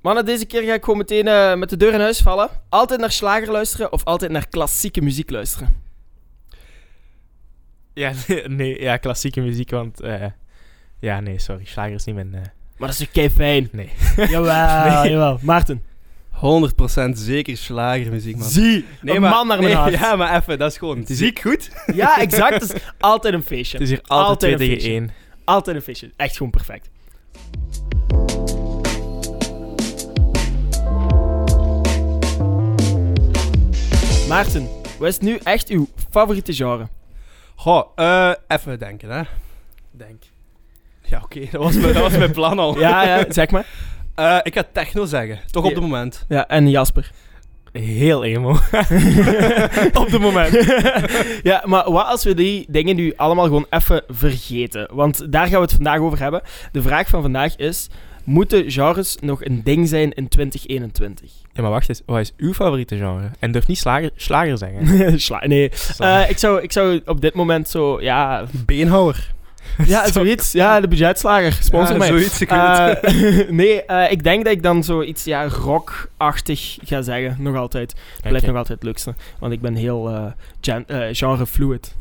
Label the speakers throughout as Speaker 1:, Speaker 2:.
Speaker 1: Mannen, deze keer ga ik gewoon meteen eh, met de deur in huis vallen. Altijd naar slager luisteren of altijd naar klassieke muziek luisteren?
Speaker 2: Ja, nee, ja, klassieke muziek, want... eh, ja, nee, sorry. Slager is niet mijn... eh,
Speaker 1: Maar dat is toch fijn?
Speaker 2: nee.
Speaker 3: Jawel,
Speaker 2: Nee.
Speaker 3: jawel. Maarten.
Speaker 4: 100% zeker slagermuziek, man.
Speaker 1: Zie,
Speaker 4: Nee,
Speaker 1: een
Speaker 4: maar-
Speaker 1: man naar mijn
Speaker 4: nee,
Speaker 1: hart.
Speaker 4: Ja, maar even, dat is gewoon
Speaker 2: is-
Speaker 4: ziek goed.
Speaker 1: Ja, exact. Het is altijd een feestje.
Speaker 2: Het is hier altijd,
Speaker 1: Altijd
Speaker 2: twee
Speaker 1: een
Speaker 2: tegen één.
Speaker 1: Altijd een feestje. Echt gewoon perfect. Maarten, wat is nu echt uw favoriete genre?
Speaker 4: Goh, eh, even denken, hè.
Speaker 2: Denk.
Speaker 4: Ja, oké, dat, was mijn- dat was mijn plan al.
Speaker 1: Ja, ja, zeg maar.
Speaker 4: Eh, ik ga techno zeggen, toch op
Speaker 1: Ja.
Speaker 4: het moment.
Speaker 1: Ja, en Jasper.
Speaker 2: Heel emo. Op de moment.
Speaker 1: ja, maar wat als we die dingen nu allemaal gewoon even vergeten? Want daar gaan we het vandaag over hebben. De vraag van vandaag is, moeten genres nog een ding zijn in 2021?
Speaker 2: Ja, maar wacht eens. Wat is uw favoriete genre? En durf niet slager, slager zeggen.
Speaker 1: Sla- nee,
Speaker 2: Sorry.
Speaker 1: Eh, ik, zou, ik zou op dit moment zo, ja,
Speaker 4: Beenhouwer.
Speaker 1: Ja, zoiets. Ja, de budgetslager. Sponsor
Speaker 4: ja,
Speaker 1: mij.
Speaker 4: Zoiets, ik weet het.
Speaker 1: Eh, nee, eh, ik denk dat ik dan zoiets ja, rockachtig ga zeggen. Nog altijd. Het
Speaker 2: Oké.
Speaker 1: blijft nog altijd het leukste. Want ik ben heel eh, gen- eh, genre fluid.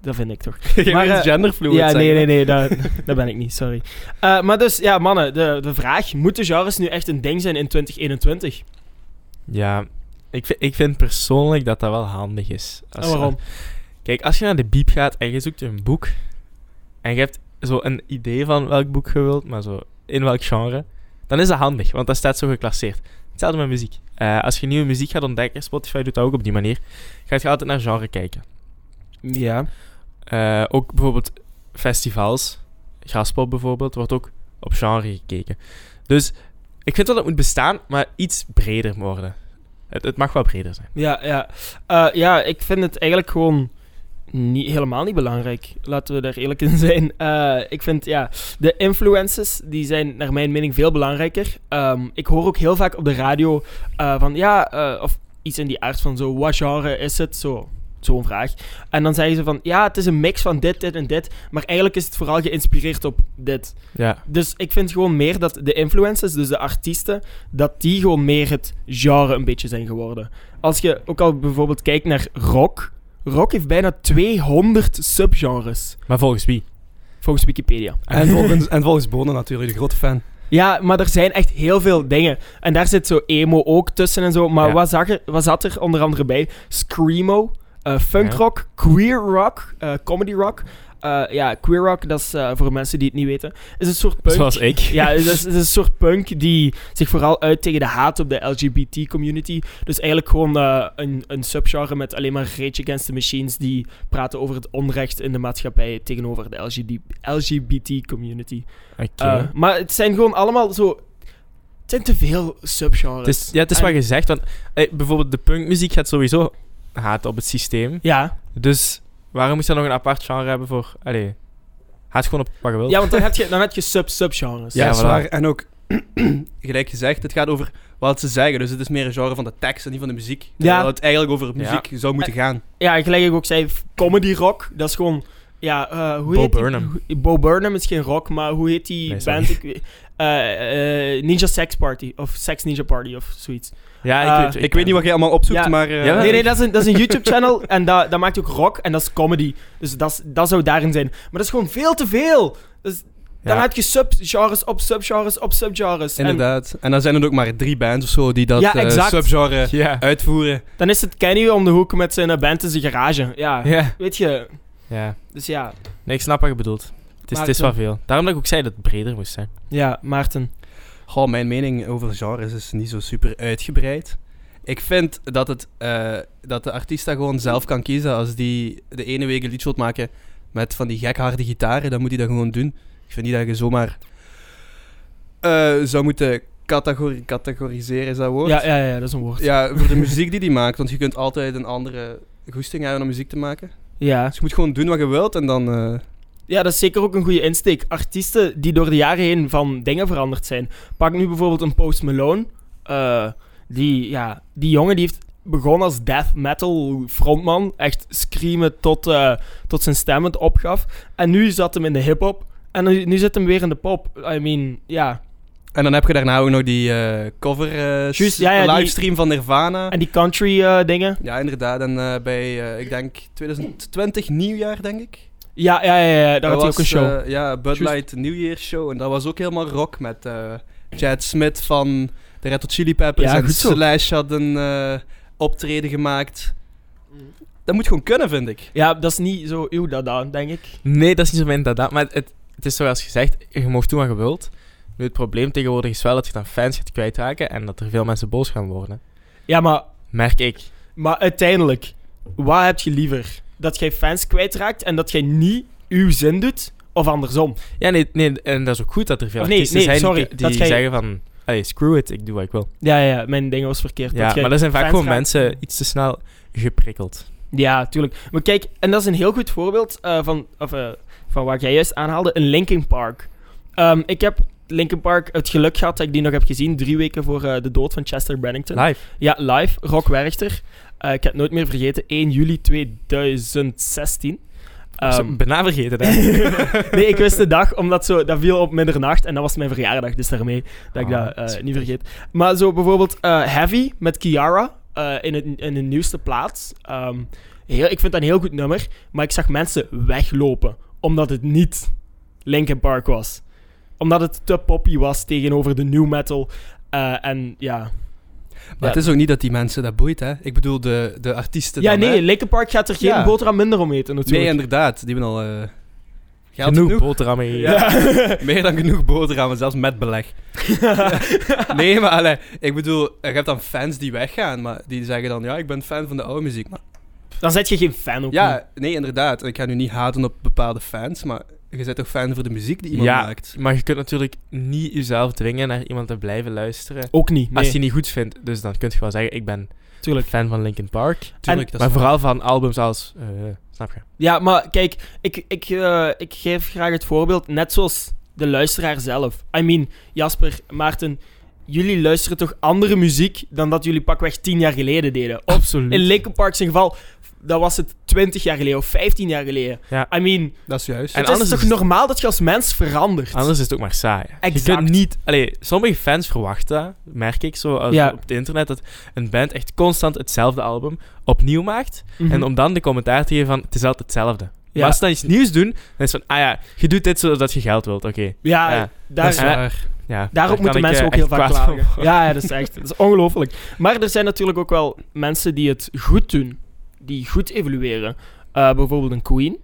Speaker 1: Dat vind ik toch.
Speaker 4: Je
Speaker 1: Maar,
Speaker 4: maar,
Speaker 1: eh,
Speaker 4: genderfluid
Speaker 1: ja,
Speaker 4: zeggen.
Speaker 1: nee, nee, nee. Dat, dat ben ik niet, sorry. Eh, maar dus, ja, mannen. De, de vraag, moeten genres nu echt een ding zijn in 2021?
Speaker 2: Ja, ik, vind- ik vind persoonlijk dat dat wel handig is. Als
Speaker 1: En
Speaker 2: je-
Speaker 1: Oh, waarom?
Speaker 2: Kijk, als je naar de biep gaat en je zoekt een boek... En je hebt zo een idee van welk boek je wilt, maar zo in welk genre... Dan is dat handig, want dat staat zo geclasseerd. Hetzelfde met muziek. Eh, als je nieuwe muziek gaat ontdekken, Spotify doet dat ook op die manier, gaat je altijd naar genre kijken.
Speaker 1: Ja.
Speaker 2: Eh, ook bijvoorbeeld festivals, Graspop bijvoorbeeld, wordt ook op genre gekeken. Dus ik vind wel dat het moet bestaan, maar iets breder worden. Het, het mag wel breder zijn.
Speaker 1: Ja, ja. Eh, ja, ik vind het eigenlijk gewoon niet, helemaal niet belangrijk. Laten we daar eerlijk in zijn. Eh, ik vind, ja, de influencers, die zijn naar mijn mening veel belangrijker. Ehm, ik hoor ook heel vaak op de radio eh, van, ja, eh, of iets in die aard van zo, wat genre is het? Zo, zo'n vraag. En dan zeggen ze van, ja, het is een mix van dit, dit en dit. Maar eigenlijk is het vooral geïnspireerd op dit.
Speaker 2: Ja,
Speaker 1: Dus ik vind gewoon meer dat de influencers, dus de artiesten, dat die gewoon meer het genre een beetje zijn geworden. Als je ook al bijvoorbeeld kijkt naar rock. Rock heeft bijna 200 subgenres,
Speaker 2: maar volgens wie?
Speaker 1: volgens Wikipedia.
Speaker 4: En volgens, en volgens Bono natuurlijk, de grote fan.
Speaker 1: Ja, maar er zijn echt heel veel dingen. En daar zit zo emo ook tussen en zo. Maar
Speaker 2: Ja.
Speaker 1: wat, zag er, wat zat er onder andere bij? Screamo, eh, funkrock, queer rock, eh, comedy rock. Eh, ja, queer rock, dat is eh, voor mensen die het niet weten, is een soort punk.
Speaker 2: Zoals ik.
Speaker 1: Ja, het is, het is een soort punk die zich vooral uit tegen de haat op de LGBT-community. Dus eigenlijk gewoon eh, een, een subgenre met alleen maar Rage Against the Machines die praten over het onrecht in de maatschappij tegenover de LGBT-community.
Speaker 2: Oké.
Speaker 1: Eh, maar het zijn gewoon allemaal zo... Het zijn te veel subgenres.
Speaker 2: het is, ja, het is
Speaker 1: en-
Speaker 2: wat je zegt, want eh, bijvoorbeeld de punkmuziek gaat sowieso haat op het systeem.
Speaker 1: Ja.
Speaker 2: Dus waarom moet je dan nog een apart genre hebben voor... Allee, haat gewoon op wat je wilt.
Speaker 1: ja, want dan heb je, dan heb je sub-subgenres.
Speaker 2: Ja,
Speaker 4: Ja,
Speaker 2: voilà.
Speaker 4: zwaar. En ook, gelijk gezegd, het gaat over wat ze zeggen. Dus het is meer een genre van de tekst en niet van de muziek. Terwijl het eigenlijk over muziek zou
Speaker 1: Eh,
Speaker 4: moeten gaan.
Speaker 1: Ja, gelijk ik ook zei, f- comedy rock, dat is gewoon... Ja, eh, hoe
Speaker 2: Bo
Speaker 1: heet die-
Speaker 2: Burnham.
Speaker 1: hoe- Bo Burnham is geen rock, maar hoe heet die
Speaker 2: Nee, sorry.
Speaker 1: band? Ik, weet- eh, eh, Ninja Sex Party, of Sex Ninja Party, of zoiets.
Speaker 2: Ja,
Speaker 1: Eh,
Speaker 2: ik, weet,
Speaker 4: Ik weet niet wat jij allemaal opzoekt,
Speaker 1: Ja.
Speaker 4: maar... eh,
Speaker 2: Ja,
Speaker 1: Nee, nee, dat is een, dat is een YouTube-channel en dat, dat maakt ook rock en dat is comedy. Dus dat, is- dat zou daarin zijn. Maar dat is gewoon veel te veel. Dus dan
Speaker 2: Ja.
Speaker 1: heb je subgenres op subgenres op subgenres. En
Speaker 4: Inderdaad. En dan zijn er ook maar drie bands of zo die dat
Speaker 1: Ja,
Speaker 4: eh,
Speaker 1: exact.
Speaker 4: subgenre
Speaker 2: Ja.
Speaker 4: uitvoeren.
Speaker 1: dan is het Kenny om de hoek met zijn eh, band in zijn garage. Ja,
Speaker 2: Ja.
Speaker 1: weet je.
Speaker 2: ja.
Speaker 1: Dus ja.
Speaker 2: Nee, ik snap wat je bedoelt. Het is,
Speaker 1: Maar
Speaker 2: het is
Speaker 1: toen-
Speaker 2: wel veel. Daarom dat ik ook zei dat het breder moest zijn.
Speaker 1: Ja, Maarten.
Speaker 4: Goh, mijn mening over genres is niet zo super uitgebreid. Ik vind dat, het, eh, dat de artiest daar gewoon zelf kan kiezen. Als die de ene week een liedje wilt maken met van die gekharde gitaren, dan moet hij dat gewoon doen. Ik vind niet dat je zomaar eh, zou moeten categori- categoriseren, is dat woord?
Speaker 1: Ja, ja, ja, dat is een woord.
Speaker 4: Ja, voor de muziek die hij maakt. Want je kunt altijd een andere goesting hebben om muziek te maken.
Speaker 1: Ja.
Speaker 4: Dus je moet gewoon doen wat je wilt en dan... eh,
Speaker 1: Ja, dat is zeker ook een goede insteek. Artiesten die door de jaren heen van dingen veranderd zijn. Pak nu bijvoorbeeld een Post Malone. Eh, die, ja, die jongen die heeft begonnen als death metal frontman. Echt screamen tot, eh, tot zijn stem het opgaf. En nu zat hem in de hip-hop. En nu, nu zit hem weer in de pop. I mean, ja.
Speaker 4: En dan heb je daarna ook nog die eh, cover eh, s-
Speaker 1: Juist, ja, ja, die-
Speaker 4: livestream van Nirvana.
Speaker 1: En die country eh, dingen.
Speaker 4: Ja, inderdaad. En eh, bij, eh, ik denk, 2020 nieuwjaar, denk ik.
Speaker 1: Ja, ja, ja, ja, daar had hij ook een
Speaker 4: was,
Speaker 1: show.
Speaker 4: eh, ja, Bud
Speaker 1: Juist.
Speaker 4: Light New Year's Show. En dat was ook helemaal rock met eh, Chad Smith van de Red Hot Chili Peppers.
Speaker 1: Ja,
Speaker 4: en
Speaker 1: goed zo.
Speaker 4: Slash had een eh, optreden gemaakt. Dat moet gewoon kunnen, vind ik.
Speaker 1: Ja, dat is niet zo uw dada, denk ik.
Speaker 2: Nee, dat is niet zo mijn dada. Maar het, het is zoals gezegd, je mag doen wat je wilt. Nu, het probleem tegenwoordig is wel dat je dan fans gaat kwijtraken en dat er veel mensen boos gaan worden.
Speaker 1: Ja, maar,
Speaker 2: Merk ik.
Speaker 1: maar uiteindelijk, wat heb je liever? Dat jij fans kwijtraakt en dat jij niet uw zin doet? Of andersom?
Speaker 2: Ja, nee, nee en dat is ook goed dat er veel
Speaker 1: Of nee,
Speaker 2: artiesten
Speaker 1: nee,
Speaker 2: zijn
Speaker 1: sorry,
Speaker 2: die,
Speaker 1: dat
Speaker 2: die
Speaker 1: jij-
Speaker 2: zeggen van... Hey, screw it, ik doe wat ik wil.
Speaker 1: Ja, ja, ja, mijn ding was verkeerd.
Speaker 2: Ja,
Speaker 1: jij
Speaker 2: maar er zijn vaak
Speaker 1: fans
Speaker 2: gewoon
Speaker 1: raakt.
Speaker 2: mensen iets te snel geprikkeld.
Speaker 1: Ja, tuurlijk. Maar kijk, en dat is een heel goed voorbeeld eh, van, of, eh, van wat jij juist aanhaalde, een Linkin Park. Ehm, ik heb Linkin Park het geluk gehad dat ik die nog heb gezien drie weken voor eh, de dood van Chester Bennington.
Speaker 2: Live.
Speaker 1: Ja, live, Rock Werchter. Eh, ik heb het nooit meer vergeten, 1 juli 2016.
Speaker 2: Um,
Speaker 1: Ehm,
Speaker 2: bijna vergeten, hè.
Speaker 1: nee, ik wist de dag, omdat zo, dat viel op middernacht en dat was mijn verjaardag, dus daarmee dat ik
Speaker 2: Ah,
Speaker 1: dat eh,
Speaker 2: dat is
Speaker 1: niet vergeet. Maar zo bijvoorbeeld eh, Heavy met Kiara eh, in, het, in de nieuwste plaats. Ehm, heel, ik vind dat een heel goed nummer, maar ik zag mensen weglopen omdat het niet Linkin Park was. Omdat het te poppy was tegenover de new metal. eh, en ja.
Speaker 4: Maar
Speaker 1: Ja.
Speaker 4: het is ook niet dat die mensen dat boeit, hè. Ik bedoel, de, de artiesten
Speaker 1: Ja,
Speaker 4: dan, hè.
Speaker 1: nee, Linkin Park gaat er geen
Speaker 4: Ja.
Speaker 1: boterham minder om eten natuurlijk.
Speaker 4: Nee, inderdaad. Die hebben al... eh geld
Speaker 2: Genoeg
Speaker 4: genoeg.
Speaker 2: boterhammen hier.
Speaker 1: Ja.
Speaker 4: Meer dan genoeg boterhammen, zelfs met beleg. Nee, maar allee, ik bedoel, je hebt dan fans die weggaan, maar die zeggen dan, ja, ik ben fan van de oude muziek. Maar,
Speaker 1: Dan zet je geen fan op.
Speaker 4: ja, nee, inderdaad. Ik ga nu niet haten op bepaalde fans, maar je bent toch fan voor de muziek die iemand
Speaker 2: Ja.
Speaker 4: maakt?
Speaker 2: Maar je kunt natuurlijk niet jezelf dwingen naar iemand te blijven luisteren.
Speaker 1: Ook niet. Nee,
Speaker 2: Als je die niet goed vindt, dus dan kun je wel zeggen, ik ben
Speaker 1: tuurlijk.
Speaker 2: fan van Linkin Park.
Speaker 4: Tuurlijk, dat is
Speaker 2: maar vooral van albums als... eh, snap je?
Speaker 1: Ja, maar kijk, ik, ik, eh, ik geef graag het voorbeeld, net zoals de luisteraar zelf. I mean, Jasper, Maarten, jullie luisteren toch andere muziek dan dat jullie pakweg tien jaar geleden deden? Of
Speaker 2: Absoluut.
Speaker 1: in Linkin Park zijn geval, dat was het 20 jaar geleden of 15 jaar geleden.
Speaker 2: Ja.
Speaker 1: I mean,
Speaker 4: Dat is juist.
Speaker 2: En
Speaker 1: het is
Speaker 2: anders
Speaker 1: toch
Speaker 2: is-
Speaker 1: normaal dat je als mens verandert?
Speaker 2: Anders is het ook maar saai.
Speaker 1: Exact.
Speaker 2: Je kunt niet... Allee, sommige fans verwachten, dat, merk ik zo als
Speaker 1: Ja.
Speaker 2: op het internet, dat een band echt constant hetzelfde album opnieuw maakt.
Speaker 1: Mhm.
Speaker 2: En om dan de commentaar te geven van, het is altijd hetzelfde.
Speaker 1: Ja.
Speaker 2: Maar als ze dan iets nieuws doen, dan is het van, ah ja, je doet dit zodat je geld wilt, oké.
Speaker 1: Ja,
Speaker 2: Ja,
Speaker 1: daar,
Speaker 2: dat is waar. Ja,
Speaker 1: Daarop
Speaker 2: daar
Speaker 1: moeten
Speaker 2: kan ik,
Speaker 1: mensen
Speaker 2: eh,
Speaker 1: ook heel
Speaker 2: echt
Speaker 1: vaak
Speaker 2: kwaad van
Speaker 1: klagen.
Speaker 2: worden.
Speaker 1: Ja, ja, dat is echt dat is ongelooflijk. Maar er zijn natuurlijk ook wel mensen die het goed doen. Die goed evolueren. Eh, bijvoorbeeld een Queen.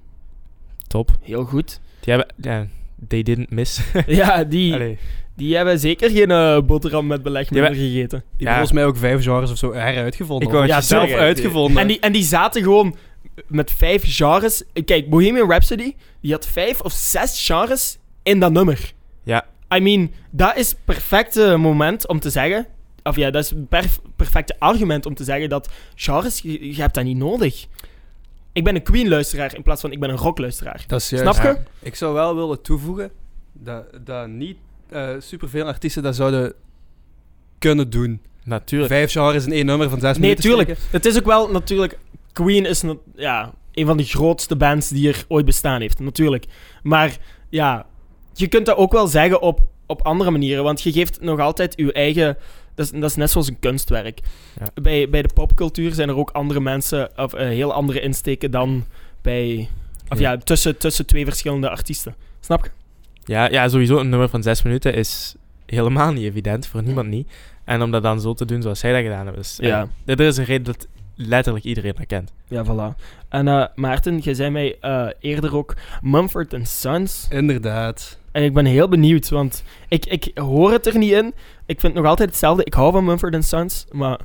Speaker 2: Top.
Speaker 1: Heel goed.
Speaker 2: Die hebben... Ja, they didn't miss.
Speaker 1: Ja, die,
Speaker 2: Allee.
Speaker 1: die hebben zeker geen eh, boterham met beleg
Speaker 2: Ja,
Speaker 1: meer gegeten.
Speaker 4: Die
Speaker 2: Ja.
Speaker 4: hebben volgens mij ook vijf genres of zo heruitgevonden.
Speaker 2: Ik wou
Speaker 1: het
Speaker 4: ja,
Speaker 1: je
Speaker 4: zelf
Speaker 2: zeggen.
Speaker 4: uitgevonden.
Speaker 1: En die, en die zaten gewoon met vijf genres. Kijk, Bohemian Rhapsody, die had vijf of zes genres in dat nummer.
Speaker 2: Ja.
Speaker 1: I mean, dat is het perfecte moment om te zeggen... Of ja, dat is het perf- perfecte argument om te zeggen dat genres, je, je hebt dat niet nodig. Ik ben een Queen-luisteraar in plaats van ik ben een rock-luisteraar.
Speaker 4: Dat is
Speaker 1: Snap je?
Speaker 4: Ik zou wel willen toevoegen dat, dat niet eh, superveel artiesten dat zouden kunnen doen.
Speaker 2: Natuurlijk.
Speaker 4: Vijf genres in één nummer van zes
Speaker 1: Nee,
Speaker 4: minuten
Speaker 1: tuurlijk.
Speaker 4: steken.
Speaker 1: Het is ook wel natuurlijk. Queen is nat- ja, een van de grootste bands die er ooit bestaan heeft, natuurlijk. Maar ja, je kunt dat ook wel zeggen op, op andere manieren. Want je geeft nog altijd je eigen. Dat is, dat is net zoals een kunstwerk.
Speaker 2: Ja.
Speaker 1: Bij, bij de popcultuur zijn er ook andere mensen. of eh, heel andere insteken dan bij. Of ja, tussen, tussen twee verschillende artiesten. Snap je?
Speaker 2: Ja, ja, sowieso een nummer van zes minuten is helemaal niet evident, voor niemand niet. En om dat dan zo te doen zoals zij dat gedaan hebben, is...
Speaker 1: Ja.
Speaker 2: eh, er is een reden dat letterlijk iedereen dat kent.
Speaker 1: Ja, voilà. En eh, Maarten, jij zei mij eh, eerder ook Mumford Sons.
Speaker 4: Inderdaad.
Speaker 1: En ik ben heel benieuwd, want ik, ik hoor het er niet in. Ik vind het nog altijd hetzelfde. Ik hou van Mumford Sons, maar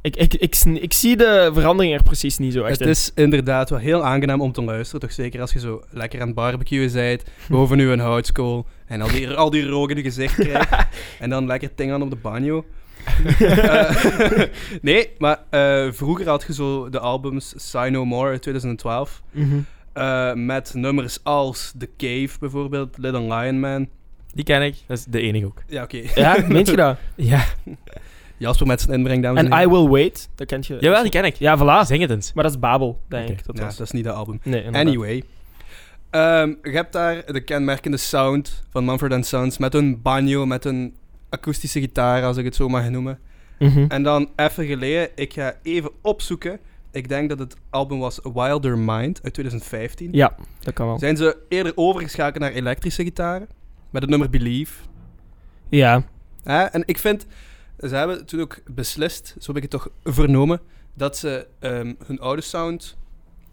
Speaker 1: ik, ik, ik, sn- ik zie de verandering er precies niet zo echt
Speaker 4: Het is inderdaad wel heel aangenaam om te luisteren. Toch zeker als je zo lekker aan het barbecuen bent. Boven nu een houtskool. En al die, al die rook in je gezicht krijgt. en dan lekker ting aan op de banjo. Eh, nee, maar eh, vroeger had je zo de albums Sign No More uit 2012.
Speaker 1: in. Mhm.
Speaker 4: eh, met nummers als The Cave bijvoorbeeld, Little Lion Man.
Speaker 2: Die ken ik, dat is de enige ook.
Speaker 4: Ja, oké.
Speaker 1: Ja, meent je dat?
Speaker 2: Ja.
Speaker 4: Jasper met zijn inbreng, dames
Speaker 1: En
Speaker 4: en
Speaker 1: I Will Wait, dat kent je.
Speaker 2: Jawel, die ken ik.
Speaker 1: Ja, voilà.
Speaker 2: Zing het eens.
Speaker 1: Maar dat is Babel, denk
Speaker 2: Oké.
Speaker 1: ik. Dat
Speaker 4: Ja,
Speaker 1: was.
Speaker 4: dat is niet dat album.
Speaker 1: Nee, inderdaad.
Speaker 4: Anyway. Ehm, je hebt daar de kenmerkende sound van Mumford Sons met hun banjo, met hun akoestische gitaar, als ik het zo mag noemen.
Speaker 1: Mhm.
Speaker 4: En dan even geleden, ik ga even opzoeken. Ik denk dat het album was Wilder Mind uit 2015.
Speaker 1: Ja, dat kan wel.
Speaker 4: Zijn ze eerder overgeschakeld naar elektrische gitaren met het nummer Believe.
Speaker 1: Ja.
Speaker 4: Hè? En ik vind, ze hebben toen ook beslist, zo heb ik het toch vernomen, dat ze ehm, hun oude sound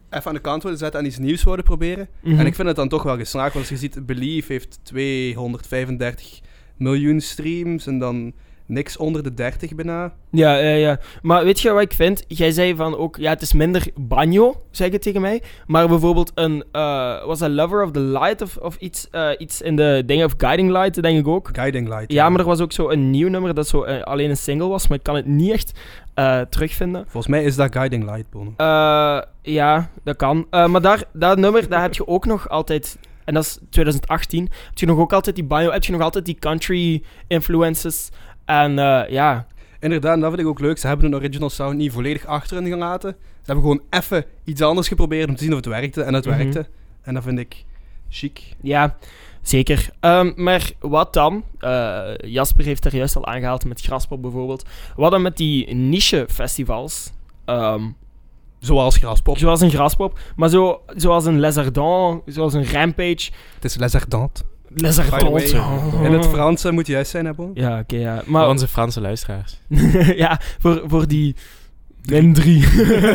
Speaker 4: even aan de kant wilden zetten en iets nieuws wilden proberen.
Speaker 1: Mhm.
Speaker 4: En ik vind het dan toch wel geslaagd, want als je ziet, Believe heeft 235 miljoen streams en dan niks onder de 30 bijna.
Speaker 1: Ja, ja, ja. Maar weet je wat ik vind? Jij zei van ook, ja, het is minder banjo, zei je tegen mij. Maar bijvoorbeeld een, eh, was dat Lover of the Light of, of iets, eh, iets in de dingen of Guiding Light, denk ik ook.
Speaker 4: Guiding Light.
Speaker 1: Ja, maar er was ook zo een nieuw nummer dat zo eh, alleen een single was, maar ik kan het niet echt eh, terugvinden.
Speaker 4: Volgens mij is dat Guiding Light, Bono.
Speaker 1: Eh, ja, dat kan. Eh, maar daar, dat nummer, daar heb je ook nog altijd. En dat is 2018. Heb je nog ook altijd die banjo, heb je nog altijd die country influences. En eh, ja,
Speaker 4: Inderdaad, en dat vind ik ook leuk. Ze hebben hun original sound niet volledig achter hen gelaten. Ze hebben gewoon even iets anders geprobeerd om te zien of het werkte. En het
Speaker 1: Mhm.
Speaker 4: werkte. En dat vind ik chic.
Speaker 1: Ja, zeker. Ehm, maar wat dan? Eh, Jasper heeft er juist al aangehaald met Graspop bijvoorbeeld. Wat dan met die niche-festivals? Ehm,
Speaker 4: Zoals Graspop.
Speaker 1: zoals een Graspop, maar zo, zoals een Les Ardents, zoals een Rampage.
Speaker 4: Het is Les Ardentes.
Speaker 1: Les
Speaker 4: the
Speaker 1: Ardents.
Speaker 4: way,
Speaker 1: oh.
Speaker 4: In het Frans eh, moet je juist zijn, hè, Bon?
Speaker 1: Ja, oké, ja.
Speaker 2: Voor
Speaker 1: Maar
Speaker 2: onze Franse luisteraars.
Speaker 1: ja, voor, voor die... Min drie.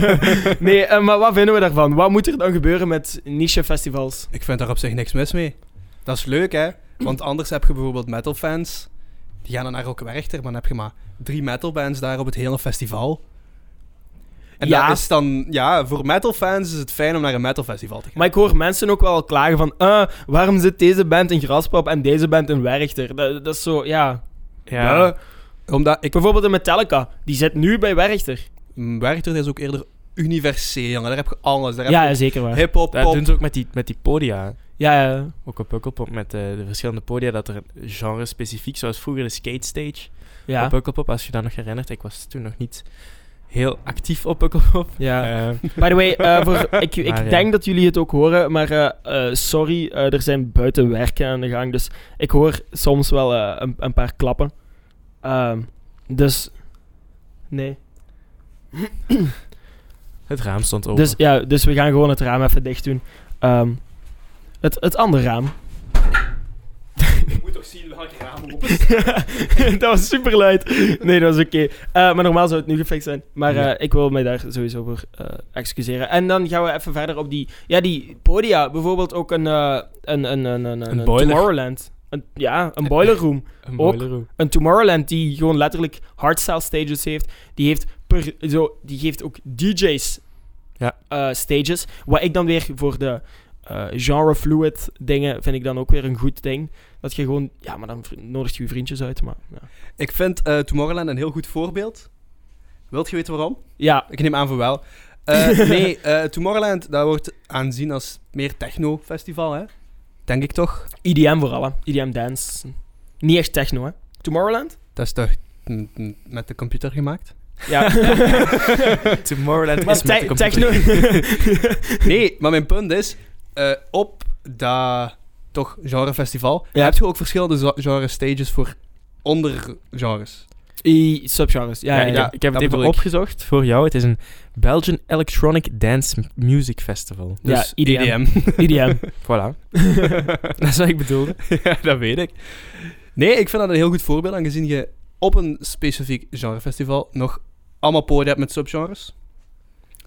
Speaker 1: nee, eh, maar wat vinden we daarvan? Wat moet er dan gebeuren met niche-festivals?
Speaker 4: Ik vind daar op zich niks mis mee. Dat is leuk, hè? Want anders heb je bijvoorbeeld metalfans. Die gaan dan naar elke werchter, maar dan heb je maar drie metalbands daar op het hele festival. En
Speaker 1: Ja.
Speaker 4: dat is dan, ja, voor metalfans is het fijn om naar een metalfestival te gaan.
Speaker 1: Maar ik hoor mensen ook wel klagen van... eh, waarom zit deze band in Graspop en deze band in Werchter? Dat, dat is zo, ja...
Speaker 2: Ja.
Speaker 4: Omdat ik
Speaker 1: Bijvoorbeeld de Metallica. Die zit nu bij Werchter.
Speaker 4: Mm, Werchter is ook eerder universeel, jongen. Daar heb je alles. Daar heb
Speaker 1: Ja,
Speaker 4: je
Speaker 1: ja, zeker waar.
Speaker 4: hip-hop,
Speaker 2: Dat
Speaker 4: pop.
Speaker 2: doen ze ook met die, met die podia.
Speaker 1: Ja, ja.
Speaker 2: Ook op Pukkelpop met eh, de verschillende podia. Dat er een genre specifiek, zoals vroeger de skate stage.
Speaker 1: Ja,
Speaker 2: Op Pukkelpop, als je dat nog herinnert. Ik was toen nog niet heel actief op Pukkelpop.
Speaker 1: ja.
Speaker 2: Eh,
Speaker 1: By the way, eh, voor, ik, ik
Speaker 2: Maar ja.
Speaker 1: denk dat jullie het ook horen, maar eh, eh, sorry, eh, er zijn buitenwerken aan de gang, dus ik hoor soms wel eh, een, een paar klappen. Ehm, dus, nee.
Speaker 2: het raam stond open.
Speaker 1: Dus, ja, dus we gaan gewoon het raam even dicht doen. Ehm, het, het andere raam.
Speaker 4: Ik moet toch zien welke ramen op
Speaker 1: dat was super luid. Nee, dat was oké. Eh, maar normaal zou het nu gefixt zijn. Maar eh,
Speaker 2: Ja.
Speaker 1: ik wil mij daar sowieso voor eh, excuseren. En dan gaan we even verder op die, ja, die podia. Bijvoorbeeld ook een, eh, een, een, een, een,
Speaker 2: Een boiler.
Speaker 1: Tomorrowland. Een, ja, een boiler room.
Speaker 2: Een
Speaker 1: ook-
Speaker 2: boiler room.
Speaker 1: Een Tomorrowland die gewoon letterlijk hardstyle stages heeft. Die heeft, per, zo, die heeft ook DJ's
Speaker 2: Ja.
Speaker 1: eh, stages. Wat ik dan weer voor de eh, genre fluid dingen vind ik dan ook weer een goed ding. Dat je gewoon, ja, maar dan v- nodigt je je vriendjes uit. Maar, ja.
Speaker 4: Ik vind eh, Tomorrowland een heel goed voorbeeld. Wilt je weten waarom?
Speaker 1: Ja,
Speaker 4: Ik neem aan voor wel. Eh, nee, eh, Tomorrowland dat wordt aanzien als meer techno-festival, hè? Denk ik toch?
Speaker 1: IDM E vooral, hè. IDM dance. Niet echt techno, hè. Tomorrowland?
Speaker 4: Dat is toch mm, mm, met de computer gemaakt?
Speaker 1: Ja.
Speaker 2: Tomorrowland
Speaker 1: maar
Speaker 2: is met
Speaker 1: te-
Speaker 2: de computer.
Speaker 1: techno...
Speaker 4: Nee, maar mijn punt is, eh, op dat toch genre-festival
Speaker 1: Ja.
Speaker 4: heb je ook verschillende zo- genre-stages voor ondergenres.
Speaker 1: I- Subgenres, ja, ja, ja.
Speaker 2: ik, ik heb
Speaker 4: dat
Speaker 2: het even
Speaker 4: bedoel ik.
Speaker 2: opgezocht voor jou. Het is een Belgian Electronic Dance M- Music Festival.
Speaker 1: Ja,
Speaker 4: Dus
Speaker 1: IDM. IDM.
Speaker 2: Voilà. dat is wat ik bedoelde.
Speaker 4: ja, dat weet ik. Nee, ik vind dat een heel goed voorbeeld, aangezien je op een specifiek genrefestival nog allemaal podia hebt met subgenres.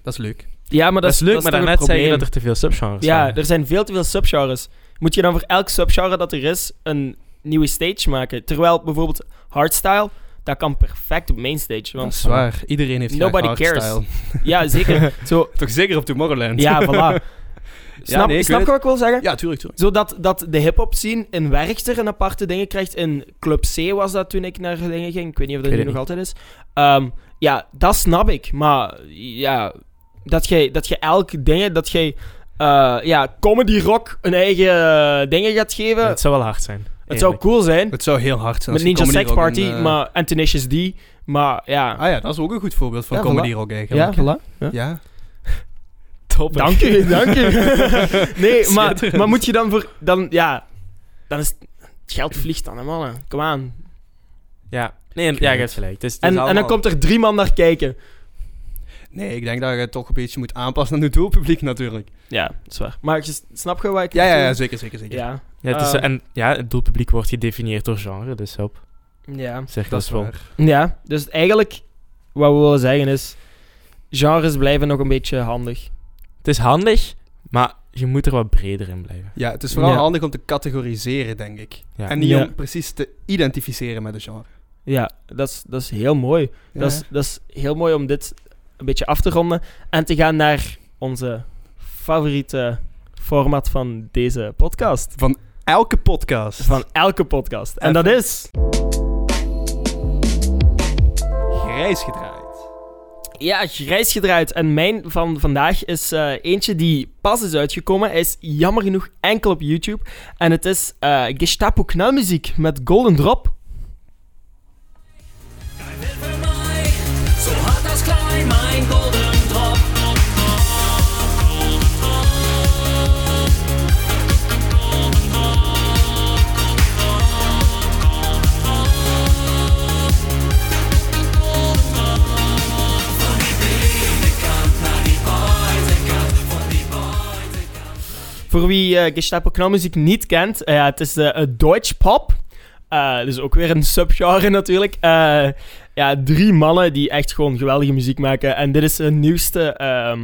Speaker 4: Dat is leuk.
Speaker 1: Ja, maar
Speaker 2: Dat is leuk,
Speaker 1: dan
Speaker 2: maar daarnet
Speaker 1: het
Speaker 2: zei je
Speaker 1: probleem.
Speaker 2: dat er te veel subgenres
Speaker 1: Ja,
Speaker 2: waren.
Speaker 1: er zijn veel te veel subgenres. Moet je dan voor elk subgenre dat er is een nieuwe stage maken? Terwijl bijvoorbeeld hardstyle, dat kan perfect op mainstage.
Speaker 4: dat
Speaker 1: Want
Speaker 4: is waar. Iedereen heeft graag
Speaker 1: Nobody cares.
Speaker 4: hardstyle.
Speaker 1: ja, zeker. Zo,
Speaker 4: Toch zeker op Tomorrowland?
Speaker 1: ja, voilà. Snap,
Speaker 4: nee, ik
Speaker 1: snap
Speaker 4: weet
Speaker 1: je wat ik wil zeggen?
Speaker 4: Ja, tuurlijk, tuurlijk.
Speaker 1: Zodat dat de hip-hop scene in Werchter een aparte dingen krijgt. In Club C was dat toen ik naar dingen ging. Ik weet niet of dat
Speaker 2: Ik
Speaker 1: nu
Speaker 2: weet
Speaker 1: nog
Speaker 2: het
Speaker 1: altijd is. Ehm, ja, dat snap ik. Maar ja, dat jij dat jij elk ding, dat jij eh, ja, comedy rock een eigen eh, dingen gaat geven.
Speaker 2: Ja,
Speaker 1: het
Speaker 2: Het zou wel hard zijn.
Speaker 1: zou
Speaker 2: eerlijk.
Speaker 1: cool zijn.
Speaker 4: Het zou heel hard zijn.
Speaker 1: Met
Speaker 4: als je
Speaker 1: Ninja
Speaker 4: Comedy
Speaker 1: Sex
Speaker 4: Rock
Speaker 1: Party,
Speaker 4: een, eh,
Speaker 1: maar, en Tenacious D. Maar ja.
Speaker 4: Ah ja, dat is ook een goed voorbeeld van
Speaker 1: Ja,
Speaker 4: comedy
Speaker 1: voilà.
Speaker 4: rock eigenlijk.
Speaker 1: voilà.
Speaker 4: Ja.
Speaker 2: Toppig.
Speaker 1: Dank je, dank je. nee, maar,
Speaker 4: Schitterend.
Speaker 1: maar moet je dan voor... Dan, ja, dan is... Het geld vliegt dan, hè, mannen. Kom aan.
Speaker 2: Ja, nee, en- ja je hebt gelijk. Het is, het is
Speaker 1: En, en
Speaker 2: allemaal-
Speaker 1: dan komt er drie man naar kijken.
Speaker 4: Nee, ik denk dat je het toch een beetje moet aanpassen aan het doelpubliek natuurlijk.
Speaker 1: Ja, dat is waar. Maar je s- snap je waar ik
Speaker 4: Ja, ja, ja
Speaker 1: naartoe-
Speaker 4: zeker, zeker, zeker.
Speaker 1: ja.
Speaker 2: Ja, het is,
Speaker 1: Ehm.
Speaker 2: en ja, het doelpubliek wordt gedefinieerd door genre, dus hop,
Speaker 1: Ja.
Speaker 2: zeg
Speaker 4: Dat is
Speaker 2: wel.
Speaker 4: waar.
Speaker 1: Ja, dus eigenlijk wat we willen zeggen is: genres blijven nog een beetje handig.
Speaker 2: Het is handig, maar je moet er wat breder in blijven.
Speaker 4: Ja, het is vooral
Speaker 1: Ja.
Speaker 4: handig om te categoriseren, denk ik.
Speaker 2: Ja.
Speaker 4: En niet
Speaker 1: Ja.
Speaker 4: om precies te identificeren met een genre.
Speaker 1: Ja, dat is, dat is heel mooi.
Speaker 4: Ja.
Speaker 1: Dat, is, dat is heel mooi om dit een beetje af te ronden en te gaan naar onze favoriete format van deze podcast.
Speaker 4: Van elke podcast.
Speaker 1: Van elke podcast. En dat is.
Speaker 4: grijs gedraaid.
Speaker 1: Ja, grijs gedraaid. En mijn van vandaag is eh, eentje die pas is uitgekomen. Hij is jammer genoeg enkel op YouTube. En het is eh, Gestapo Knalmuziek met Golden Drop.
Speaker 3: Hij wil voor mij, zo hard als klein, mijn golden drop. Van die binnenkant naar die buitenkant, van die buitenkant.
Speaker 1: Voor wie eh Gestapo Knalmuziek niet kent, eh, ja, het is de Deutsch Pop. Eh, dus ook weer een subgenre natuurlijk. Eh, ja, drie mannen die echt gewoon geweldige muziek maken. En dit is hun nieuwste, ehm,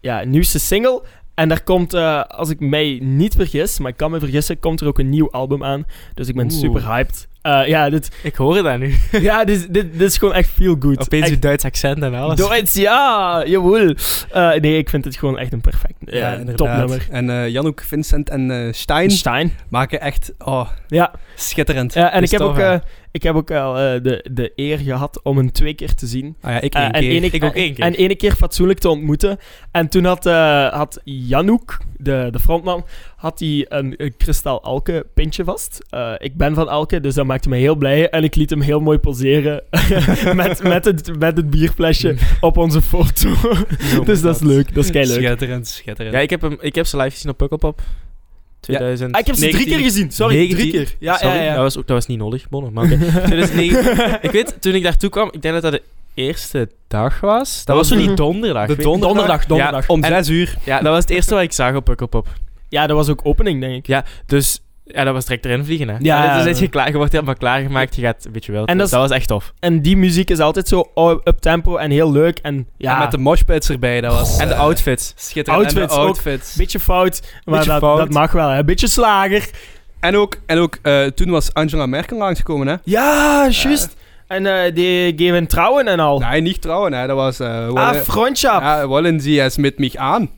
Speaker 1: ja, nieuwste single. En daar komt, eh, als ik mij niet vergis, maar ik kan me vergissen, komt er ook een nieuw album aan. Dus ik ben
Speaker 2: Oeh.
Speaker 1: super hyped. Eh, ja, dit,
Speaker 2: Ik hoor dat nu.
Speaker 1: ja dit, is- dit, dit is gewoon echt feel good.
Speaker 2: Opeens
Speaker 1: echt,
Speaker 2: je Duits accent en alles.
Speaker 1: Duits, ja, jawel. Eh, nee, ik vind het gewoon echt een perfect ja, topnummer.
Speaker 4: En eh, Janouk, Vincent en eh, Stijn
Speaker 1: Stein.
Speaker 4: maken echt oh,
Speaker 1: Ja,
Speaker 4: schitterend.
Speaker 1: Ja, en
Speaker 2: Dus
Speaker 1: ik heb,
Speaker 2: tof,
Speaker 1: ook,
Speaker 2: hè?
Speaker 1: eh, ik heb ook al eh, de, de eer gehad om hem twee keer te zien.
Speaker 4: Ah ja, ik
Speaker 1: Eh,
Speaker 4: één
Speaker 1: en
Speaker 4: keer.
Speaker 1: één-
Speaker 2: Ik ook één keer.
Speaker 1: En ene keer fatsoenlijk te ontmoeten. En toen had, eh had Janouk, de, de frontman, had hij een, een kristal alke pintje vast. Eh, ik ben van alke, dus dat maakte me heel blij. En ik liet hem heel mooi poseren met, met, het, met het bierflesje op onze foto.
Speaker 2: Zo,
Speaker 1: dus dat is leuk, dat is kei leuk.
Speaker 4: Schitterend, schitterend.
Speaker 2: Ja, ik heb, hem, ik heb ze live gezien op Pukkelpop. 2000.
Speaker 1: Ah, ik heb ze drie keer gezien, sorry, drie keer. Ja,
Speaker 2: sorry,
Speaker 1: ja, ja.
Speaker 2: Dat, was ook, dat was niet nodig, Bonne. Maar oké. 2009 ik weet, toen ik daartoe kwam, ik denk dat dat de eerste dag was. Dat,
Speaker 4: Dat
Speaker 2: was zo
Speaker 4: was
Speaker 2: die
Speaker 1: een-
Speaker 2: donderdag.
Speaker 4: de
Speaker 2: weet-
Speaker 4: donderdag?
Speaker 1: Donderdag, donderdag.
Speaker 4: Om
Speaker 2: En-
Speaker 4: zes uur.
Speaker 2: Ja, dat was het eerste wat ik zag op Pukkelpop.
Speaker 1: Ja, dat was ook opening, denk ik.
Speaker 2: Dus ja, dat was direct erin vliegen. Hè.
Speaker 1: Ja,
Speaker 2: dus
Speaker 1: ja.
Speaker 2: je, klaar, je wordt helemaal klaargemaakt, je gaat een beetje wel.
Speaker 1: En dat
Speaker 2: dat,
Speaker 1: is-
Speaker 2: was echt tof.
Speaker 1: En die muziek is altijd zo up-tempo en heel leuk. En ja,
Speaker 4: En met de moshpits erbij, dat was
Speaker 2: En de
Speaker 4: eh,
Speaker 2: outfits.
Speaker 4: schitterend.
Speaker 1: Ah. Outfits
Speaker 4: en de
Speaker 1: ook.
Speaker 4: outfits.
Speaker 1: Beetje fout, maar
Speaker 2: Beetje
Speaker 1: dat,
Speaker 2: fout.
Speaker 1: dat mag wel. Een beetje slager.
Speaker 4: En ook, en ook eh, toen was Angela Merkel langsgekomen, hè?
Speaker 1: Ja, juist. En eh, die geven trouwen en al.
Speaker 4: Nee, niet trouwen, hè. Dat was... eh
Speaker 1: Oh. ah, Mm.
Speaker 4: wollen-
Speaker 1: Frontschap.
Speaker 4: ja, wollen Sie es met mich aan?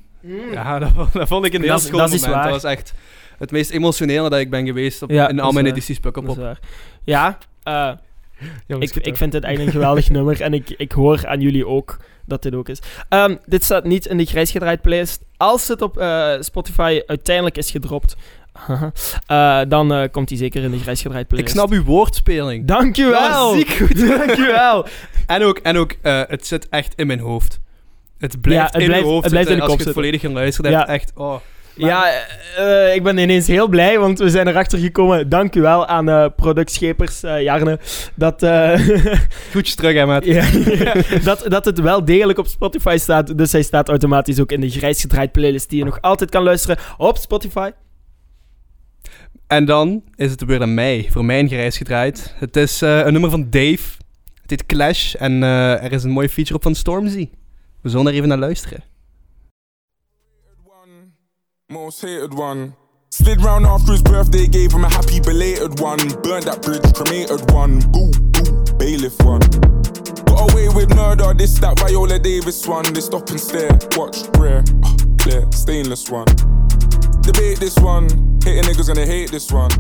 Speaker 4: Ja, dat, vo- dat vond ik een heel
Speaker 1: Dat is-
Speaker 4: schoon
Speaker 1: dat is
Speaker 4: moment.
Speaker 1: waar.
Speaker 4: Dat was echt het meest emotionele dat ik ben geweest op,
Speaker 1: Ja,
Speaker 4: in
Speaker 1: dat
Speaker 4: al
Speaker 1: is
Speaker 4: mijn
Speaker 1: waar.
Speaker 4: edities
Speaker 1: Dat is
Speaker 4: Pukkelpop.
Speaker 1: waar. Ja, eh, ik, ik vind dit echt een geweldig nummer. En ik, ik hoor aan jullie ook dat dit ook is. Ehm, dit staat niet in de grijs gedraaid playlist. Als het op eh, Spotify uiteindelijk is gedropt, eh, dan eh, komt die zeker in de grijs gedraaid
Speaker 4: Ik
Speaker 1: playlist.
Speaker 4: snap uw woordspeling. Dat
Speaker 1: Dankjewel.
Speaker 4: was ziek goed.
Speaker 1: Dankjewel.
Speaker 4: En ook, en ook eh, het zit echt in mijn hoofd. Het blijft
Speaker 1: het
Speaker 4: in
Speaker 1: blijft-
Speaker 4: mijn hoofd.
Speaker 1: het blijft in
Speaker 4: zitten.
Speaker 1: de
Speaker 4: als
Speaker 1: kop
Speaker 4: je het volledig geluisterd
Speaker 1: Ja.
Speaker 4: hebt, echt. Oh. Maar-
Speaker 1: Ja, eh, eh, ik ben ineens heel blij, want we zijn erachter gekomen. Dank u wel aan eh productschepers eh, Jarne. Dat, eh,
Speaker 4: Goed terug, hè, maat.
Speaker 1: ja, dat, dat het wel degelijk op Spotify staat. Dus hij staat automatisch ook in de grijs gedraaid playlist die je nog altijd kan luisteren op Spotify.
Speaker 4: En dan is het weer aan mij, voor mijn gereis gedraaid. Het is eh, een nummer van Dave. Het heet Clash en eh, er is een mooie feature op van Stormzy. We zullen daar even naar luisteren.
Speaker 5: one, most hated one. Slid round after his birthday, gave him a happy belated one. Burned that bridge, cremated one. Boo, boo, bailiff one. Got away with murder, this, that Viola Davis one. They stop and stare, watch, rare, uh, clear, stainless one. Debate this one, hating niggas gonna hate this one.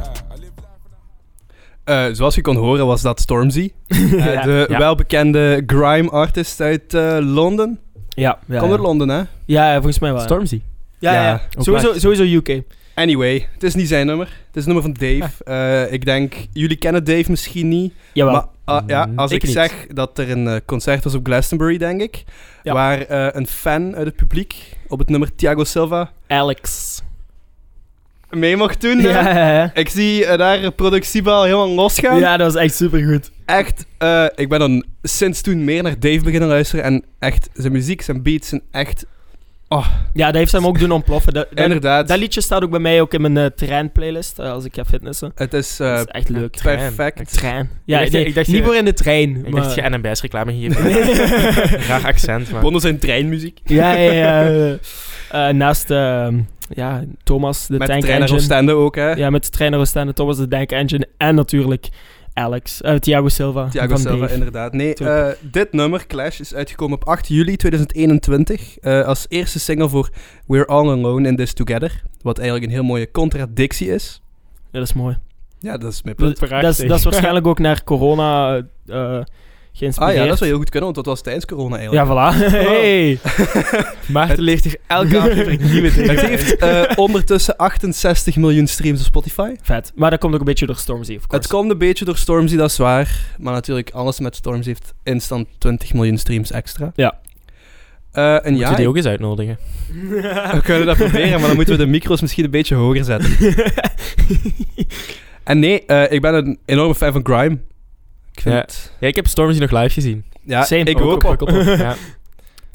Speaker 5: Ah, I live life in a-
Speaker 4: Eh, zoals je kon horen was dat Stormzy. Eh,
Speaker 1: Ja.
Speaker 4: de
Speaker 2: Ja.
Speaker 4: welbekende grime artist uit eh, Londen.
Speaker 1: Ja, ja,
Speaker 4: Komt
Speaker 1: ja.
Speaker 4: uit Londen, hè?
Speaker 1: Ja, ja, volgens mij wel.
Speaker 2: Stormzy.
Speaker 1: Ja, ja,
Speaker 4: Ja,
Speaker 1: ja.
Speaker 2: ook
Speaker 1: Sowieso,
Speaker 2: waar.
Speaker 1: sowieso UK.
Speaker 4: Anyway, het is niet zijn nummer. Het is het nummer van Dave. Eh, ik denk, jullie kennen Dave misschien niet.
Speaker 1: Jawel.
Speaker 4: Maar ah, ja, als
Speaker 2: Ik
Speaker 4: ik,
Speaker 2: niet.
Speaker 4: zeg dat er een eh, concert was op Glastonbury, denk ik.
Speaker 1: Ja.
Speaker 4: Waar eh, een fan uit het publiek op het nummer Thiago Silva
Speaker 1: Alex.
Speaker 4: mee mocht doen. hè.
Speaker 1: Ja, ja, ja.
Speaker 4: Ik zie eh, daar productiebal helemaal losgaan.
Speaker 1: ja, dat was echt supergoed.
Speaker 4: Echt, eh, ik ben dan sinds toen meer naar Dave beginnen luisteren. En echt, zijn muziek, zijn beats zijn echt... oh,
Speaker 1: Ja, dat heeft ze hem ook doen ontploffen. Dat, dat,
Speaker 4: Inderdaad,
Speaker 1: dat liedje staat ook bij mij ook in mijn eh, terrein-playlist, eh, als ik ga fitnessen.
Speaker 4: het is eh,
Speaker 1: dat is echt leuk.
Speaker 2: trein.
Speaker 4: perfect.
Speaker 1: Trein. Ja,
Speaker 2: Ik dacht-
Speaker 1: nee,
Speaker 2: ik dacht
Speaker 1: niet
Speaker 2: je-
Speaker 1: voor in de trein.
Speaker 2: Ik dacht
Speaker 1: maar-
Speaker 2: je NMBS reclame hier. Graag accent, maar...
Speaker 4: Bonnen zijn treinmuziek.
Speaker 1: Ja, ja, ja. eh, eh, naast eh, ja, Thomas, de
Speaker 4: Met
Speaker 1: Tank
Speaker 4: trainer
Speaker 1: Engine.
Speaker 4: Oostende ook, hè.
Speaker 1: Ja, met de trainer Oostende, Thomas, de Tank Engine. En natuurlijk Alex, eh, Thiago Silva.
Speaker 4: Thiago
Speaker 1: van
Speaker 4: Silva,
Speaker 1: Dave.
Speaker 4: inderdaad. Nee,
Speaker 1: Tuurlijk.
Speaker 4: eh, dit nummer, Clash, is uitgekomen op 8 juli 2021. eh, als eerste single voor We're All Alone in This Together. Wat eigenlijk een heel mooie contradictie is.
Speaker 1: Ja, dat is mooi.
Speaker 4: Ja, dat is mijn punt.
Speaker 1: Dat, dat is, dat is waarschijnlijk ook naar corona eh, eh,
Speaker 4: Ah
Speaker 1: geïnspireerd.
Speaker 4: ja, dat zou heel goed kunnen, want dat was tijdens corona
Speaker 1: Ja,
Speaker 4: eigenlijk.
Speaker 1: voilà. Hey.
Speaker 2: Maarten leert hier elke aflevering nieuwe dingen
Speaker 4: Het
Speaker 2: bij.
Speaker 4: heeft eh, ondertussen 68 miljoen streams op Spotify.
Speaker 1: Vet. Maar dat komt ook een beetje door Stormzy, of
Speaker 4: Het
Speaker 1: course.
Speaker 4: komt een beetje door Stormzy, dat is waar. Maar natuurlijk, alles met Stormzy heeft instant 20 miljoen streams extra.
Speaker 1: Ja.
Speaker 4: Eh, en
Speaker 2: Moeten
Speaker 4: ja,
Speaker 2: we die ook eens uitnodigen?
Speaker 4: we kunnen dat proberen, maar dan moeten we de micro's misschien een beetje hoger zetten. En nee, eh, ik ben een enorme fan van Grime. Ik vind
Speaker 2: Ja.
Speaker 4: het-
Speaker 2: Ja, ik heb Stormzy nog live gezien. Oh,
Speaker 4: ja,
Speaker 1: Same.
Speaker 4: ik
Speaker 1: Ook
Speaker 4: ook.
Speaker 1: op Pukkelpop.
Speaker 2: Ja.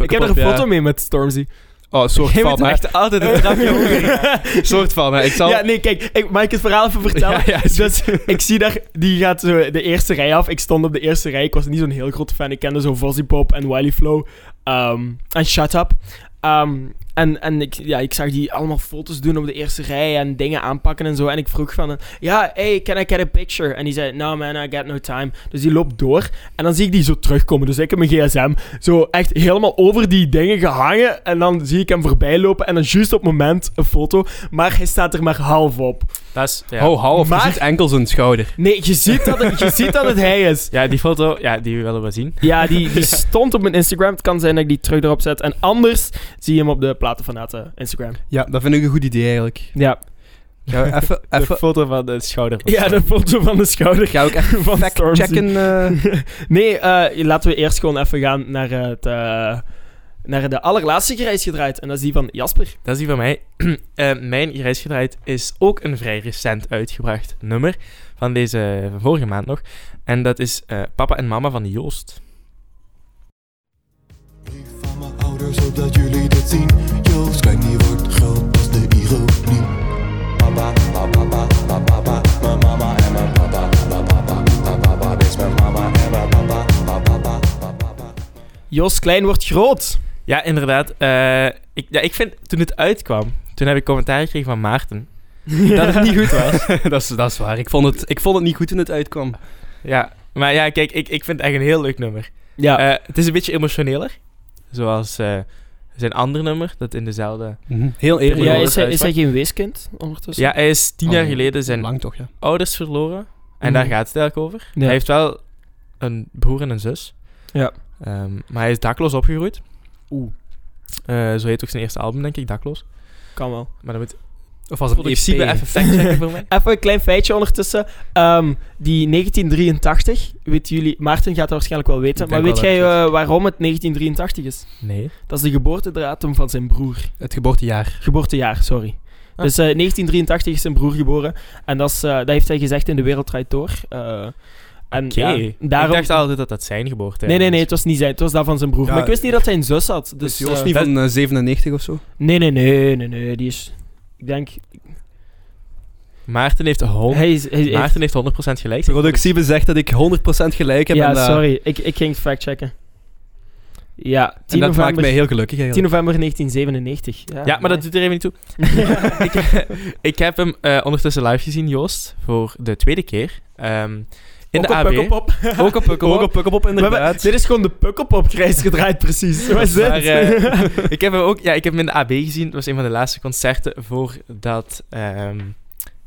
Speaker 1: Ik heb er een
Speaker 4: ja.
Speaker 1: foto mee met Stormzy.
Speaker 4: Oh, een soort
Speaker 2: Jij
Speaker 4: van,
Speaker 2: bent
Speaker 4: hè.
Speaker 2: echt altijd een trapje hoger.
Speaker 4: soort van, hè. Ik zal...
Speaker 1: Ja, nee, kijk, ik, mag ik het verhaal even vertellen?
Speaker 4: Ja, ja, is
Speaker 1: dus ik zie daar, die gaat zo de eerste rij af. Ik stond op de eerste rij. Ik was niet zo'n heel grote fan. Ik kende zo Vozzy Pop en Wiley Flow. ehm, en Shut Up. Ehm, en en ik, ja, ik zag die allemaal foto's doen op de eerste rij en dingen aanpakken en zo. En ik vroeg van, eh, ja, hey, can I get a picture? En die zei, no man, I got no time. Dus die loopt door en dan zie ik die zo terugkomen. Dus ik heb mijn gsm zo echt helemaal over die dingen gehangen. En dan zie ik hem voorbij lopen en dan juist op het moment een foto. Maar hij staat er maar half op.
Speaker 2: Dat is... Ja.
Speaker 4: Hou, hou, of je
Speaker 1: Maar-
Speaker 4: ziet Oh, enkel zijn schouder.
Speaker 1: Nee, je ziet dat het, je ziet dat het hij is.
Speaker 2: ja, die foto, ja, die willen we zien.
Speaker 1: Ja, die, die stond op mijn Instagram. Het kan zijn dat ik die terug erop zet. En anders zie je hem op de Platenfanaten Instagram.
Speaker 4: Ja, dat vind ik een goed idee eigenlijk.
Speaker 1: Ja.
Speaker 4: Gaan we even...
Speaker 2: De
Speaker 4: even
Speaker 2: foto van de schouder. van
Speaker 1: Ja, de foto van de schouder.
Speaker 4: gaan we ook even
Speaker 1: Van Stormzy.
Speaker 4: fact-checken... eh,
Speaker 1: Nee, eh, laten we eerst gewoon even gaan naar, het, eh, naar de allerlaatste gereis gedraaid. En dat is die van Jasper.
Speaker 2: Dat is die van mij. Eh, mijn reis gedraaid is ook een vrij recent uitgebracht nummer van deze van vorige maand nog. En dat is eh, Papa en Mama van Joost.
Speaker 6: Ik van mijn ouders hoop dat jullie dit zien. Joost, kijk die wordt groot, dat is de ironie. Papa, papa, papa, papa, papa, mijn mama en mijn papa, papa, papa, papa, papa, dit is mijn mama en mijn papa, papa, papa, papa, papa.
Speaker 1: Joost Klein wordt groot.
Speaker 2: Ja, inderdaad. eh, ik, ja, ik vind, toen het uitkwam, toen heb ik commentaar gekregen van Maarten. Dat het niet goed was.
Speaker 4: eh. dat, is, dat is waar. Ik vond, het, ik vond het niet goed toen het uitkwam.
Speaker 2: Ja, maar ja, kijk, ik, ik vind het echt een heel leuk nummer.
Speaker 1: Ja.
Speaker 2: Eh, het is een beetje emotioneler. Zoals eh, zijn ander nummer, dat in dezelfde...
Speaker 4: Heel eerlijk.
Speaker 1: ja,
Speaker 2: Joost
Speaker 1: is, hij, is hij Oh,
Speaker 2: Uitspraak.
Speaker 1: geen weeskind ondertussen?
Speaker 2: Ja, hij is tien jaar geleden zijn
Speaker 4: Oh, Lang toch, ja.
Speaker 2: ouders verloren. En
Speaker 1: Mhm.
Speaker 2: daar gaat het eigenlijk over. Hij heeft wel een broer en een zus.
Speaker 1: Ja.
Speaker 2: Ehm, maar hij is dakloos opgegroeid.
Speaker 1: Oeh.
Speaker 2: Eh, zo heet ook zijn eerste album, denk ik, dakloos.
Speaker 1: Kan wel.
Speaker 2: Maar dat moet
Speaker 4: Of was het
Speaker 2: productieve
Speaker 4: EP?
Speaker 2: even factchecken voor mij.
Speaker 1: Even een klein feitje ondertussen. Ehm, die 1983, weet jullie, Maarten gaat dat waarschijnlijk wel weten.
Speaker 4: Ik
Speaker 1: Maar
Speaker 4: denk
Speaker 1: weet
Speaker 4: wel
Speaker 1: jij
Speaker 4: dat ik
Speaker 1: eh, waarom het 1983 is?
Speaker 2: Nee.
Speaker 1: Dat is de geboortedatum van zijn broer.
Speaker 4: Het geboortejaar.
Speaker 1: Geboortejaar, sorry.
Speaker 2: Ah.
Speaker 1: Dus eh, 1983 is zijn broer geboren. En dat, is, eh, dat heeft hij gezegd in De Wereld Draait Door. Eh, en
Speaker 2: Oké.
Speaker 1: ja, daarom...
Speaker 2: Ik dacht altijd dat dat zijn geboorte
Speaker 1: Nee, nee, nee,
Speaker 2: was.
Speaker 1: het was niet zijn. Het was dat van zijn broer.
Speaker 4: eh, Ja,
Speaker 1: maar ik wist niet dat hij een zus had. Dus,
Speaker 4: Dus Joost
Speaker 1: eh,
Speaker 4: niet van eh, 97 of zo?
Speaker 1: Nee, nee, nee, nee, nee. Die is... Ik denk...
Speaker 2: Maarten heeft, hond-
Speaker 1: Hij is... Hij heeft-
Speaker 2: Maarten heeft 100% gelijk.
Speaker 4: Productieve zegt dat ik 100% gelijk heb. eh,
Speaker 1: ja,
Speaker 4: en, dat-
Speaker 1: sorry. Ik, ik ging het factchecken. Ja, 10
Speaker 4: en dat
Speaker 1: november...
Speaker 4: maakt mij heel gelukkig
Speaker 1: 10
Speaker 4: eigenlijk.
Speaker 1: november 1997. Ja,
Speaker 2: Ja, maar dat doet er even niet toe. ik, ik heb hem eh, ondertussen live gezien, Joost, voor de tweede keer. Ehm, in de AB.
Speaker 4: Ook op Pukkelpop. Ook op Pukkelpop,
Speaker 1: We hebben-
Speaker 4: inderdaad.
Speaker 1: dit is gewoon de pukkelpop grijs gedraaid, precies. Wat is dit?
Speaker 2: Maar, eh, ik heb hem ook, ja, ik heb hem in de AB gezien. Het was een van de laatste concerten voordat ehm,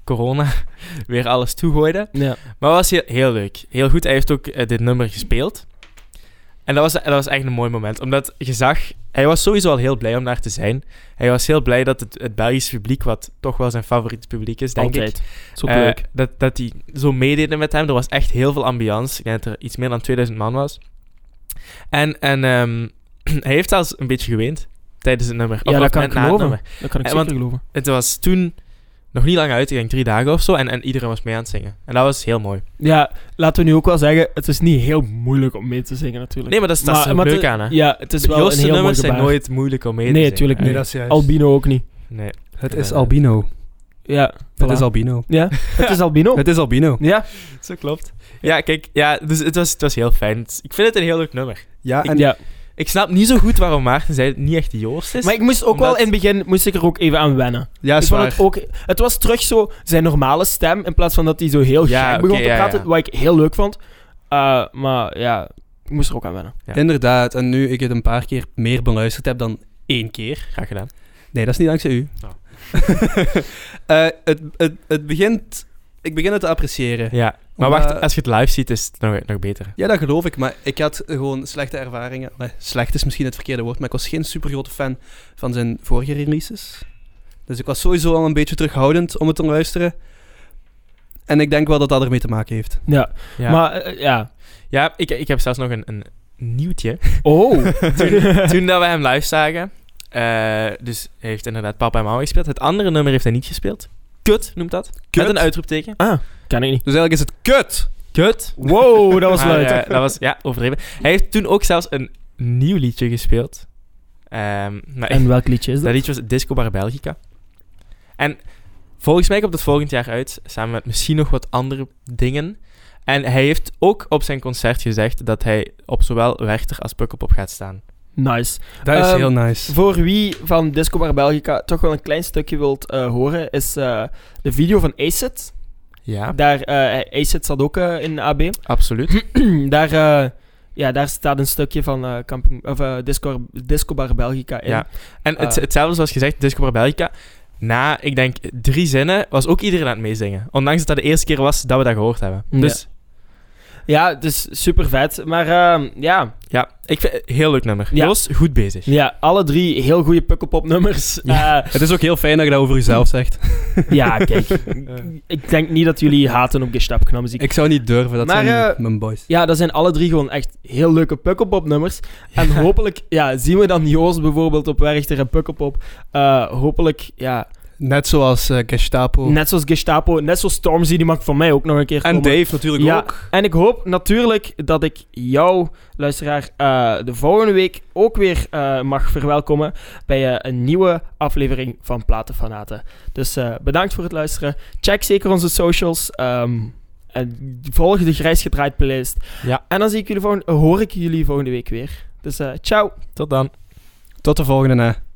Speaker 2: corona weer alles toegooide.
Speaker 1: ja.
Speaker 2: Maar het was heel, heel leuk. Heel goed. Hij heeft ook eh, dit nummer gespeeld. En dat was, dat was echt een mooi moment. Omdat je zag, hij was sowieso al heel blij om daar te zijn. Hij was heel blij dat het, het Belgisch publiek, wat toch wel zijn favoriete publiek is, denk ik.
Speaker 1: Altijd.
Speaker 2: Eh, dat, dat die zo meededen met hem. Er was echt heel veel ambiance. Ik denk dat er iets meer dan 2000 man was. En, en ehm, hij heeft zelfs een beetje geweend tijdens het nummer.
Speaker 1: Ja, dat kan
Speaker 2: net
Speaker 1: ik
Speaker 2: na het
Speaker 1: geloven.
Speaker 2: nummer.
Speaker 1: Dat kan ik
Speaker 2: Eh,
Speaker 1: zeker
Speaker 2: want-
Speaker 1: geloven.
Speaker 2: Het was toen... nog niet lang uit, ik denk drie dagen of zo. En, en iedereen was mee aan het zingen. En dat was heel mooi.
Speaker 1: Ja, laten we nu ook wel zeggen, het is niet heel moeilijk om mee te zingen natuurlijk.
Speaker 2: Nee, maar dat is, dat is
Speaker 1: Maar-
Speaker 2: er
Speaker 1: maar
Speaker 2: leuk
Speaker 1: het-
Speaker 2: aan, hè.
Speaker 1: Ja, het is wel een
Speaker 2: Joost'
Speaker 1: heel mooi
Speaker 2: nummers zijn
Speaker 1: gebaar.
Speaker 2: nooit moeilijk om mee te
Speaker 1: Nee,
Speaker 2: zingen,
Speaker 1: tuurlijk
Speaker 2: eigenlijk.
Speaker 1: niet.
Speaker 4: is juist.
Speaker 1: Albino ook niet.
Speaker 2: Nee.
Speaker 4: Het is albino.
Speaker 1: Ja,
Speaker 4: Het
Speaker 1: voilà.
Speaker 4: is albino.
Speaker 1: Ja, het is albino.
Speaker 4: Het is albino.
Speaker 1: Ja,
Speaker 2: Zo klopt. Ja, kijk, ja, dus het was, het was heel fijn. Het- Ik vind het een heel leuk nummer.
Speaker 4: Ja, en
Speaker 1: ja.
Speaker 2: Ik snap niet zo goed waarom Maarten zei dat het niet echt Joost is.
Speaker 1: Maar ik moest ook wel
Speaker 2: omdat-
Speaker 1: in het begin moest ik er ook even aan wennen.
Speaker 4: ja, is
Speaker 1: ik vond
Speaker 4: waar.
Speaker 1: het, ook, het was terug zo zijn normale stem, in plaats van dat hij zo heel
Speaker 2: Ja,
Speaker 1: gek
Speaker 2: oké,
Speaker 1: begon te
Speaker 2: ja,
Speaker 1: praten,
Speaker 2: ja.
Speaker 1: wat ik heel leuk vond. Eh, maar ja, ik moest er ook aan wennen.
Speaker 2: Ja.
Speaker 4: Inderdaad, en nu ik het een paar keer meer beluisterd heb dan één keer.
Speaker 2: Graag gedaan.
Speaker 4: Nee, dat is niet dankzij u.
Speaker 2: Oh.
Speaker 4: Eh, het, het, het begint... Ik begin het te appreciëren.
Speaker 2: Ja. Maar
Speaker 4: Omdat-
Speaker 1: eh,
Speaker 2: wacht, als je het live ziet, is het nog, nog beter.
Speaker 4: Ja, dat geloof ik, maar ik had gewoon slechte ervaringen. Nee, slecht is misschien het verkeerde woord, maar ik was geen super grote fan van zijn vorige releases. Dus ik was sowieso al een beetje terughoudend om het te luisteren. En ik denk wel dat dat ermee te maken heeft.
Speaker 1: Ja,
Speaker 2: Ja,
Speaker 1: maar eh, ja.
Speaker 2: ja ik, ik heb zelfs nog een, een nieuwtje.
Speaker 1: Oh,
Speaker 2: toen, toen dat we hem live zagen, eh, dus hij heeft inderdaad Papa en Mama gespeeld. Het andere nummer heeft hij niet gespeeld. Kut noemt dat. Met een uitroepteken.
Speaker 1: kan ik niet.
Speaker 4: Dus eigenlijk is het kut!
Speaker 2: Kut.
Speaker 1: Wow, dat was
Speaker 2: Maar,
Speaker 1: leuk.
Speaker 2: eh, dat was, ja, overdreven. Hij heeft toen ook zelfs een nieuw liedje gespeeld. Ehm, maar
Speaker 1: En welk liedje is dat?
Speaker 2: Dat liedje was Disco Bar Belgica. En volgens mij komt het volgend jaar uit, samen met misschien nog wat andere dingen. En hij heeft ook op zijn concert gezegd dat hij op zowel Werchter als Pukkelpop gaat staan.
Speaker 1: Nice.
Speaker 4: Dat is
Speaker 1: Ehm,
Speaker 4: heel nice.
Speaker 1: Voor wie van Disco Bar Belgica toch wel een klein stukje wilt eh, horen, is eh, de video van Acid.
Speaker 2: Ja,
Speaker 1: Daar, eh Acid zat ook eh, in AB.
Speaker 2: absoluut.
Speaker 1: daar, eh, ja, daar staat een stukje van eh camping, of, eh, Disco, Disco Bar Belgica in.
Speaker 2: Ja. En het,
Speaker 1: Eh.
Speaker 2: hetzelfde zoals gezegd, Disco Bar Belgica. Na, ik denk, drie zinnen was ook iedereen aan het meezingen. Ondanks dat dat de eerste keer was dat we dat gehoord hebben.
Speaker 1: Ja.
Speaker 2: Dus
Speaker 1: Ja, het is super vet. Maar ehm, ja.
Speaker 2: ja, ik vind het een heel leuk nummer.
Speaker 1: Ja.
Speaker 2: Joost, goed bezig.
Speaker 1: ja, alle drie heel goede pukkelpop nummers. Ja.
Speaker 4: Het is ook heel fijn dat je dat over jezelf zegt.
Speaker 1: ja, kijk. Ik denk niet dat jullie haten op Gestapkna muziek.
Speaker 4: Ik zou niet durven, dat
Speaker 1: Maar,
Speaker 4: zijn
Speaker 1: eh,
Speaker 4: mijn boys.
Speaker 1: Ja, dat zijn alle drie gewoon echt heel leuke pukkelpop nummers. En hopelijk ja, zien we dan Joost bijvoorbeeld op Werchter en Pukkelpop. Eh, hopelijk, ja,
Speaker 4: Net zoals eh, Gestapo.
Speaker 1: net zoals Gestapo, net zoals Stormzy, die mag van mij ook nog een keer
Speaker 4: en
Speaker 1: komen.
Speaker 4: Dave natuurlijk
Speaker 1: Ja.
Speaker 4: ook.
Speaker 1: En ik hoop natuurlijk dat ik jou, luisteraar, eh, de volgende week ook weer eh, mag verwelkomen bij eh, een nieuwe aflevering van Platenfanaten. Dus eh, bedankt voor het luisteren. Check zeker onze socials. ehm, en volg de Grijs Gedraaid playlist.
Speaker 2: Ja.
Speaker 1: En dan zie ik jullie volgende, hoor ik jullie volgende week weer. Dus eh, ciao.
Speaker 2: Tot dan.
Speaker 4: Tot de volgende. hè.